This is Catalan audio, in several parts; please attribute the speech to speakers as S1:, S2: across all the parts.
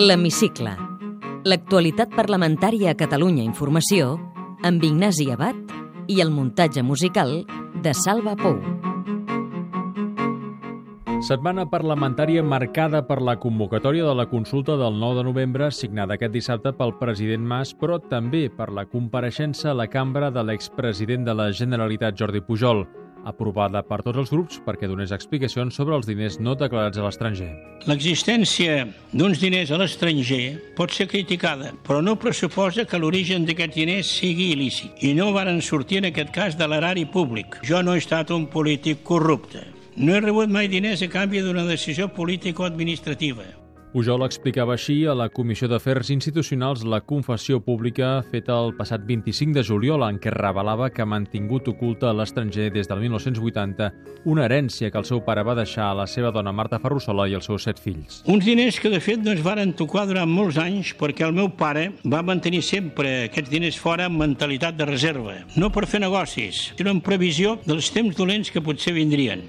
S1: L'Hemicicle. L'actualitat parlamentària a Catalunya Informació amb Ignasi Abad i el muntatge musical de Salva Pou.
S2: Setmana parlamentària marcada per la convocatòria de la consulta del 9 de novembre, signada aquest dissabte pel president Mas, però també per la compareixença a la cambra de l'expresident de la Generalitat, Jordi Pujol, aprovada per tots els grups perquè donés explicacions sobre els diners no declarats a l'estranger.
S3: L'existència d'uns diners a l'estranger pot ser criticada, però no pressuposa que l'origen d'aquests diners sigui il·lícit. I no varen sortir en aquest cas de l'erari públic. Jo no he estat un polític corrupte. No he rebut mai diners a canvi d'una decisió política o administrativa.
S2: Pujol explicava així a la Comissió d'Afers Institucionals la confessió pública feta el passat 25 de juliol en què revelava que ha mantingut oculta a l'estranger des del 1980 una herència que el seu pare va deixar a la seva dona Marta Ferrusola i els seus set fills.
S3: Uns diners que, de fet, no es varen tocar durant molts anys perquè el meu pare va mantenir sempre aquests diners fora amb mentalitat de reserva. No per fer negocis, sinó en previsió dels temps dolents que potser vindrien.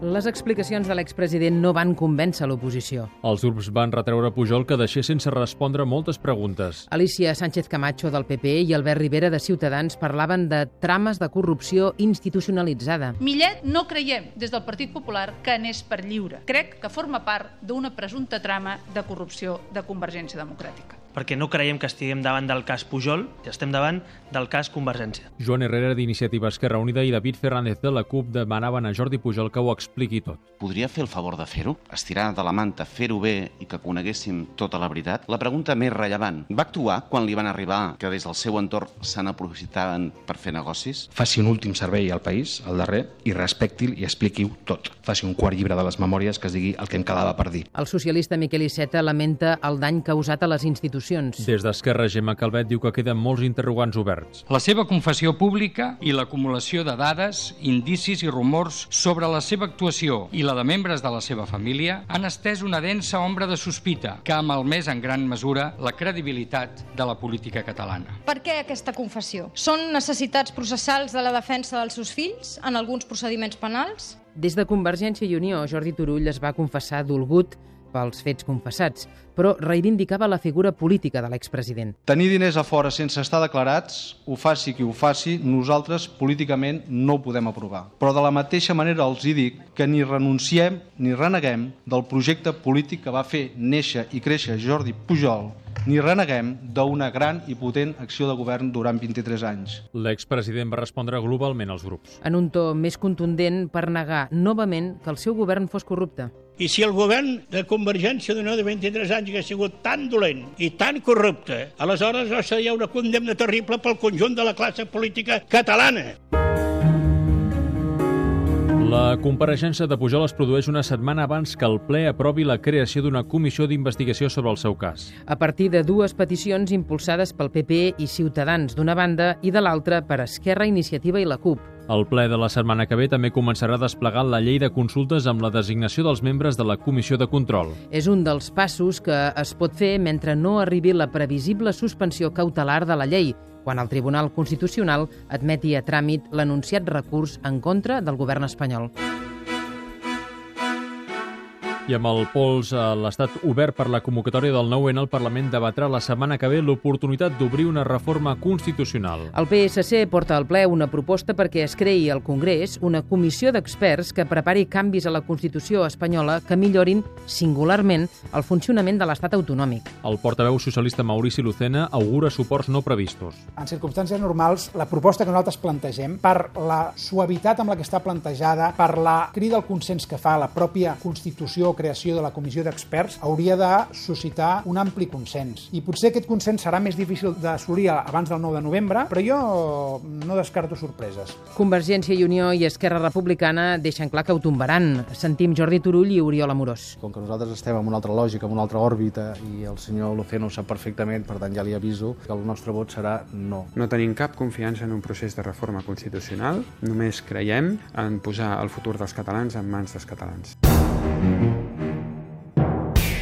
S4: Les explicacions de l'expresident no van convèncer l'oposició.
S2: Els grups van retreure Pujol que deixés sense respondre moltes preguntes.
S4: Alicia Sánchez Camacho del PP i Albert Rivera de Ciutadans parlaven de trames de corrupció institucionalitzada.
S5: Millet no creiem des del Partit Popular que anés per lliure. Crec que forma part d'una presumpta trama de corrupció de Convergència Democràtica
S6: perquè no creiem que estiguem davant del cas Pujol, estem davant del cas Convergència.
S2: Joan Herrera d'Iniciativa Esquerra Unida i David Fernández de la CUP demanaven a Jordi Pujol que ho expliqui tot.
S7: Podria fer el favor de fer-ho? Estirar de la manta, fer-ho bé i que coneguéssim tota la veritat? La pregunta més rellevant, va actuar quan li van arribar que des del seu entorn se n'aprofitaven per fer negocis?
S8: Faci un últim servei al país, al darrer, i respecti'l i expliqui-ho tot. Faci un quart llibre de les memòries que es digui el que em quedava per dir.
S4: El socialista Miquel Iceta lamenta el dany causat a les institucions institucions.
S2: Des d'Esquerra, Gemma Calvet diu que queden molts interrogants oberts.
S9: La seva confessió pública i l'acumulació de dades, indicis i rumors sobre la seva actuació i la de membres de la seva família han estès una densa ombra de sospita que ha malmès en gran mesura la credibilitat de la política catalana.
S10: Per què aquesta confessió? Són necessitats processals de la defensa dels seus fills en alguns procediments penals?
S4: Des de Convergència i Unió, Jordi Turull es va confessar dolgut pels fets confessats, però reivindicava la figura política de l'expresident.
S11: Tenir diners a fora sense estar declarats, ho faci qui ho faci, nosaltres políticament no ho podem aprovar. Però de la mateixa manera els hi dic que ni renunciem ni reneguem del projecte polític que va fer néixer i créixer Jordi Pujol ni reneguem d'una gran i potent acció de govern durant 23 anys.
S2: L'expresident va respondre globalment als grups.
S4: En un to més contundent per negar novament que el seu govern fos corrupte.
S3: I si el govern de Convergència d'Unió de 23 anys que ha sigut tan dolent i tan corrupte, aleshores no seria una condemna terrible pel conjunt de la classe política catalana.
S2: La compareixença de Pujol es produeix una setmana abans que el ple aprovi la creació d'una comissió d'investigació sobre el seu cas.
S4: A partir de dues peticions impulsades pel PP i Ciutadans d'una banda i de l'altra per Esquerra, Iniciativa i la CUP.
S2: El ple de la setmana que ve també començarà a desplegar la llei de consultes amb la designació dels membres de la comissió de control.
S4: És un dels passos que es pot fer mentre no arribi la previsible suspensió cautelar de la llei, quan el Tribunal Constitucional admeti a tràmit l'anunciat recurs en contra del govern espanyol.
S2: I amb el pols a l'estat obert per la convocatòria del 9-N, el Parlament debatrà la setmana que ve l'oportunitat d'obrir una reforma constitucional.
S4: El PSC porta al ple una proposta perquè es creï al Congrés una comissió d'experts que prepari canvis a la Constitució espanyola que millorin singularment el funcionament de l'estat autonòmic.
S2: El portaveu socialista Maurici Lucena augura suports no previstos.
S12: En circumstàncies normals, la proposta que nosaltres plantegem, per la suavitat amb la que està plantejada, per la crida al consens que fa la pròpia Constitució creació de la comissió d'experts hauria de suscitar un ampli consens. I potser aquest consens serà més difícil d'assolir abans del 9 de novembre, però jo no descarto sorpreses.
S4: Convergència i Unió i Esquerra Republicana deixen clar que ho tombaran. Sentim Jordi Turull i Oriol Amorós.
S13: Com que nosaltres estem en una altra lògica, en una altra òrbita, i el senyor Luceno ho sap perfectament, per tant ja li aviso que el nostre vot serà no.
S14: No tenim cap confiança en un procés de reforma constitucional, només creiem en posar el futur dels catalans en mans dels catalans.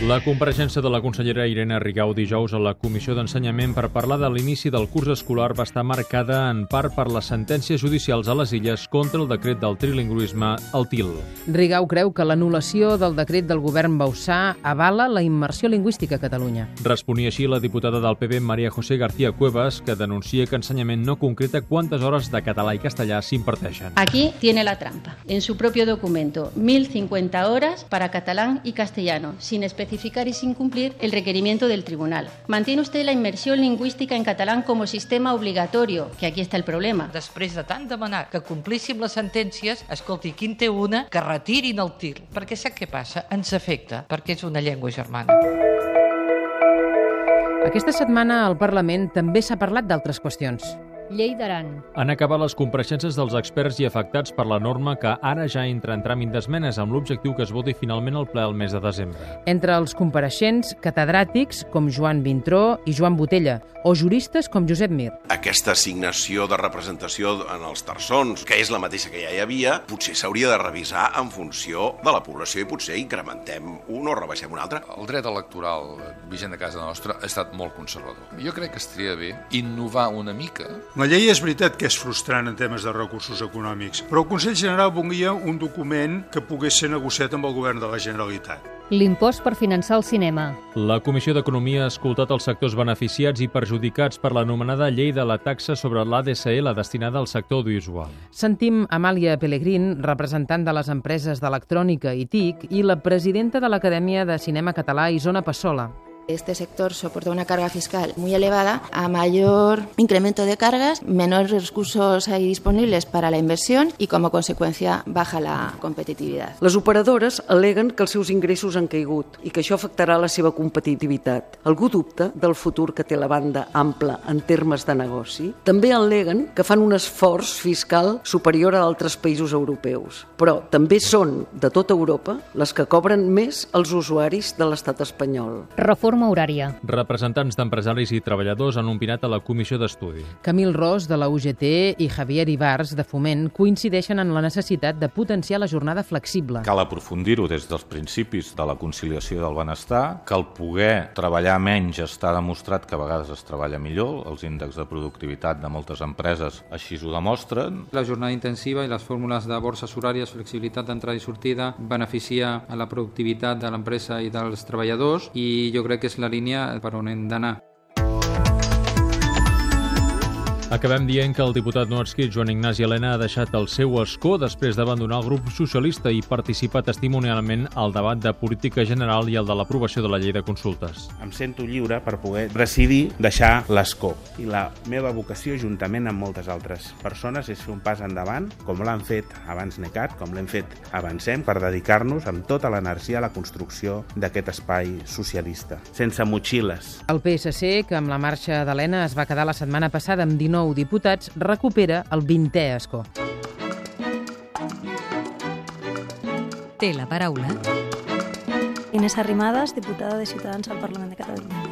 S2: La compareixença de la consellera Irene Rigau dijous a la Comissió d'Ensenyament per parlar de l'inici del curs escolar va estar marcada en part per les sentències judicials a les illes contra el decret del trilingüisme, el TIL.
S4: Rigau creu que l'anul·lació del decret del govern Bausà avala la immersió lingüística a Catalunya.
S2: Responia així la diputada del PP, Maria José García Cuevas, que denuncia que ensenyament no concreta quantes hores de català i castellà s'imparteixen.
S15: Aquí tiene la trampa. En su propio documento, 1.050 horas para catalán y castellano, sin especificar y sin cumplir el requerimiento del tribunal. Mantiene usted la inmersión lingüística en catalán como sistema obligatorio, que aquí está el problema.
S16: Després de tant demanar que complíssim les sentències, escolti, quin té una que retirin el tir. Perquè sap què passa? Ens afecta, perquè és una llengua germana.
S4: Aquesta setmana al Parlament també s'ha parlat d'altres qüestions.
S17: Llei d'Aran.
S2: Han acabat les compareixences dels experts i afectats per la norma que ara ja entra en tràmit d'esmenes amb l'objectiu que es voti finalment el ple al mes de desembre.
S4: Entre els compareixents, catedràtics com Joan Vintró i Joan Botella, o juristes com Josep Mir.
S18: Aquesta assignació de representació en els terçons, que és la mateixa que ja hi havia, potser s'hauria de revisar en funció de la població i potser incrementem un o rebaixem un altre.
S19: El dret electoral vigent a casa nostra ha estat molt conservador. Jo crec que estaria bé innovar una mica
S20: la llei és veritat que és frustrant en temes de recursos econòmics, però el Consell General volia un document que pogués ser negociat amb el govern de la Generalitat.
S17: L'impost per finançar el cinema.
S2: La Comissió d'Economia ha escoltat els sectors beneficiats i perjudicats per l'anomenada llei de la taxa sobre l'ADSL destinada al sector audiovisual.
S4: Sentim Amàlia Pellegrín, representant de les empreses d'electrònica i TIC i la presidenta de l'Acadèmia de Cinema Català, Isona Passola.
S21: Este sector soporta una carga fiscal muy elevada, a mayor incremento de cargas, menores recursos hay disponibles para la inversión y como consecuencia baja la competitividad.
S22: Les operadores aleguen que els seus ingressos han caigut i que això afectarà la seva competitivitat. Algú dubta del futur que té la banda ampla en termes de negoci? També aleguen que fan un esforç fiscal superior a altres països europeus, però també són de tota Europa les que cobren més els usuaris de l'estat espanyol.
S17: Reforma reforma horària.
S2: Representants d'empresaris i treballadors han opinat a la comissió d'estudi.
S4: Camil Ros, de la UGT, i Javier Ibars, de Foment, coincideixen en la necessitat de potenciar la jornada flexible.
S23: Cal aprofundir-ho des dels principis de la conciliació del benestar, que el poder treballar menys està demostrat que a vegades es treballa millor, els índexs de productivitat de moltes empreses així ho demostren.
S24: La jornada intensiva i les fórmules de borses horàries, flexibilitat d'entrada i sortida, beneficia a la productivitat de l'empresa i dels treballadors i jo crec crec que és la línia per on hem d'anar.
S2: Acabem dient que el diputat no adscrit Joan Ignasi Helena ha deixat el seu escó després d'abandonar el grup socialista i participar testimonialment al debat de política general i al de l'aprovació de la llei de consultes.
S25: Em sento lliure per poder decidir deixar l'escó. I la meva vocació, juntament amb moltes altres persones, és fer un pas endavant, com l'han fet abans NECAT, com l'hem fet Avancem, per dedicar-nos amb tota l'energia a la construcció d'aquest espai socialista, sense motxilles.
S4: El PSC, que amb la marxa d'Helena es va quedar la setmana passada amb 19 19 diputats, recupera el 20è escó.
S1: Té la paraula
S26: Inés Arrimadas, diputada de Ciutadans al Parlament de Catalunya.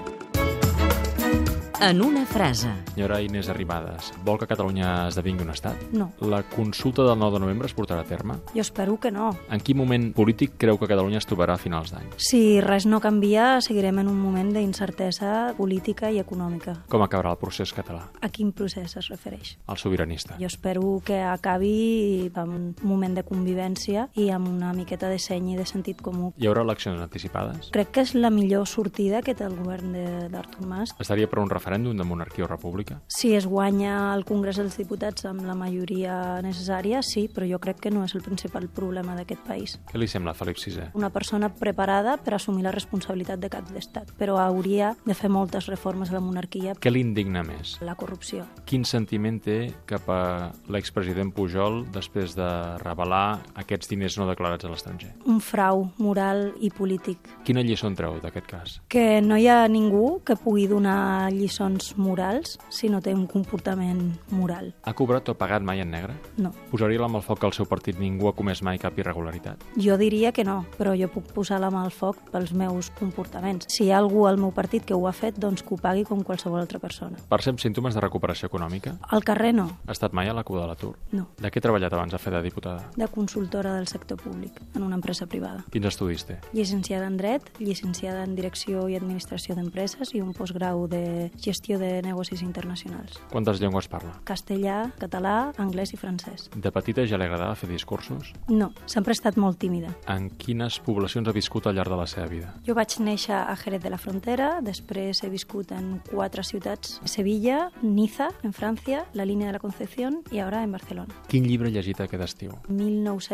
S1: en una frase.
S2: Senyora Inés Arrimadas, vol que Catalunya esdevingui un estat?
S26: No.
S2: La consulta del 9 de novembre es portarà a terme?
S26: Jo espero que no.
S2: En quin moment polític creu que Catalunya es trobarà a finals d'any?
S26: Si res no canvia, seguirem en un moment d'incertesa política i econòmica.
S2: Com acabarà el procés català?
S26: A quin procés es refereix?
S2: El sobiranista.
S26: Jo espero que acabi amb un moment de convivència i amb una miqueta de seny i de sentit comú.
S2: Hi haurà eleccions anticipades?
S26: Crec que és la millor sortida que té el govern de- d'Artur Mas.
S2: Estaria per un referèndum de monarquia o república?
S26: Si es guanya el Congrés dels Diputats amb la majoria necessària, sí, però jo crec que no és el principal problema d'aquest país.
S2: Què li sembla, Felip VI?
S26: Una persona preparada per assumir la responsabilitat de cap d'estat, però hauria de fer moltes reformes a la monarquia.
S2: Què l'indigna més?
S26: La corrupció.
S2: Quin sentiment té cap a l'expresident Pujol després de revelar aquests diners no declarats a l'estranger?
S26: Un frau moral i polític.
S2: Quina lliçó en treu d'aquest cas?
S26: Que no hi ha ningú que pugui donar lliçons lliçons morals si no té un comportament moral.
S2: Ha cobrat o pagat mai en negre?
S26: No.
S2: Posaria la mà al foc que al seu partit ningú ha comès mai cap irregularitat?
S26: Jo diria que no, però jo puc posar la mà al foc pels meus comportaments. Si hi ha algú al meu partit que ho ha fet, doncs que ho pagui com qualsevol altra persona.
S2: Percep símptomes de recuperació econòmica?
S26: Al carrer no,
S2: Ha estat mai a la cua de l'atur?
S26: No.
S2: De què ha treballat abans de fer de diputada?
S26: de consultora del sector públic, en una empresa privada.
S2: Quins estudis té?
S26: Llicenciada en Dret, llicenciada en Direcció i Administració d'Empreses i un postgrau de Gestió de Negocis Internacionals.
S2: Quantes llengües parla?
S26: Castellà, català, anglès i francès.
S2: De petita ja li agradava fer discursos?
S26: No, sempre he estat molt tímida.
S2: En quines poblacions ha viscut al llarg de la seva vida?
S26: Jo vaig néixer a Jerez de la Frontera, després he viscut en quatre ciutats, Sevilla, Niza, en França, la línia de la Concepción i ara en Barcelona.
S2: Quin llibre ha llegit aquest estiu?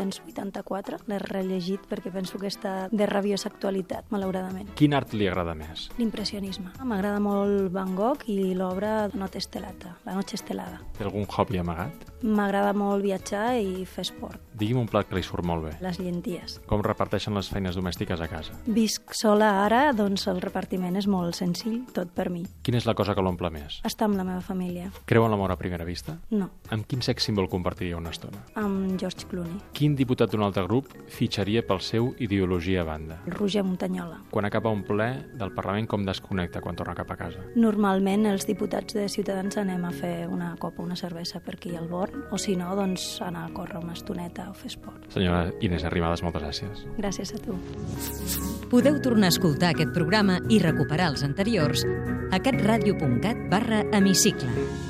S26: 1984, l'he rellegit perquè penso que està de rabiosa actualitat, malauradament.
S2: Quin art li agrada més?
S26: L'impressionisme. M'agrada molt Van Gogh i l'obra Noche Estelata, La Noche Estelada.
S2: Té algun hobby amagat?
S26: M'agrada molt viatjar i fer esport,
S2: Digui'm un plat que li surt molt bé.
S26: les llenties.
S2: Com reparteixen les feines domèstiques a casa?
S26: Visc sola ara, doncs el repartiment és molt senzill, tot per mi.
S2: Quina és la cosa que l'omple més?
S26: Estar amb la meva família.
S2: Creu en l'amor a primera vista?
S26: No,
S2: Amb quin sex símbol compartiria una estona?
S26: amb George Clooney.
S2: Quin diputat d'un altre grup fitxaria pel seu ideologia a banda?
S26: Roger Montanyola.
S2: Quan acaba un ple del Parlament, com desconnecta quan torna cap a casa?
S26: Normalment els diputats de Ciutadans anem a fer una copa, una cervesa per aquí al Born, o si no, doncs anar a córrer una estoneta o fer esport.
S2: Senyora Inés Arrimadas, moltes gràcies.
S26: Gràcies a tu.
S1: Podeu tornar a escoltar aquest programa i recuperar els anteriors a catradio.cat barra hemicicle.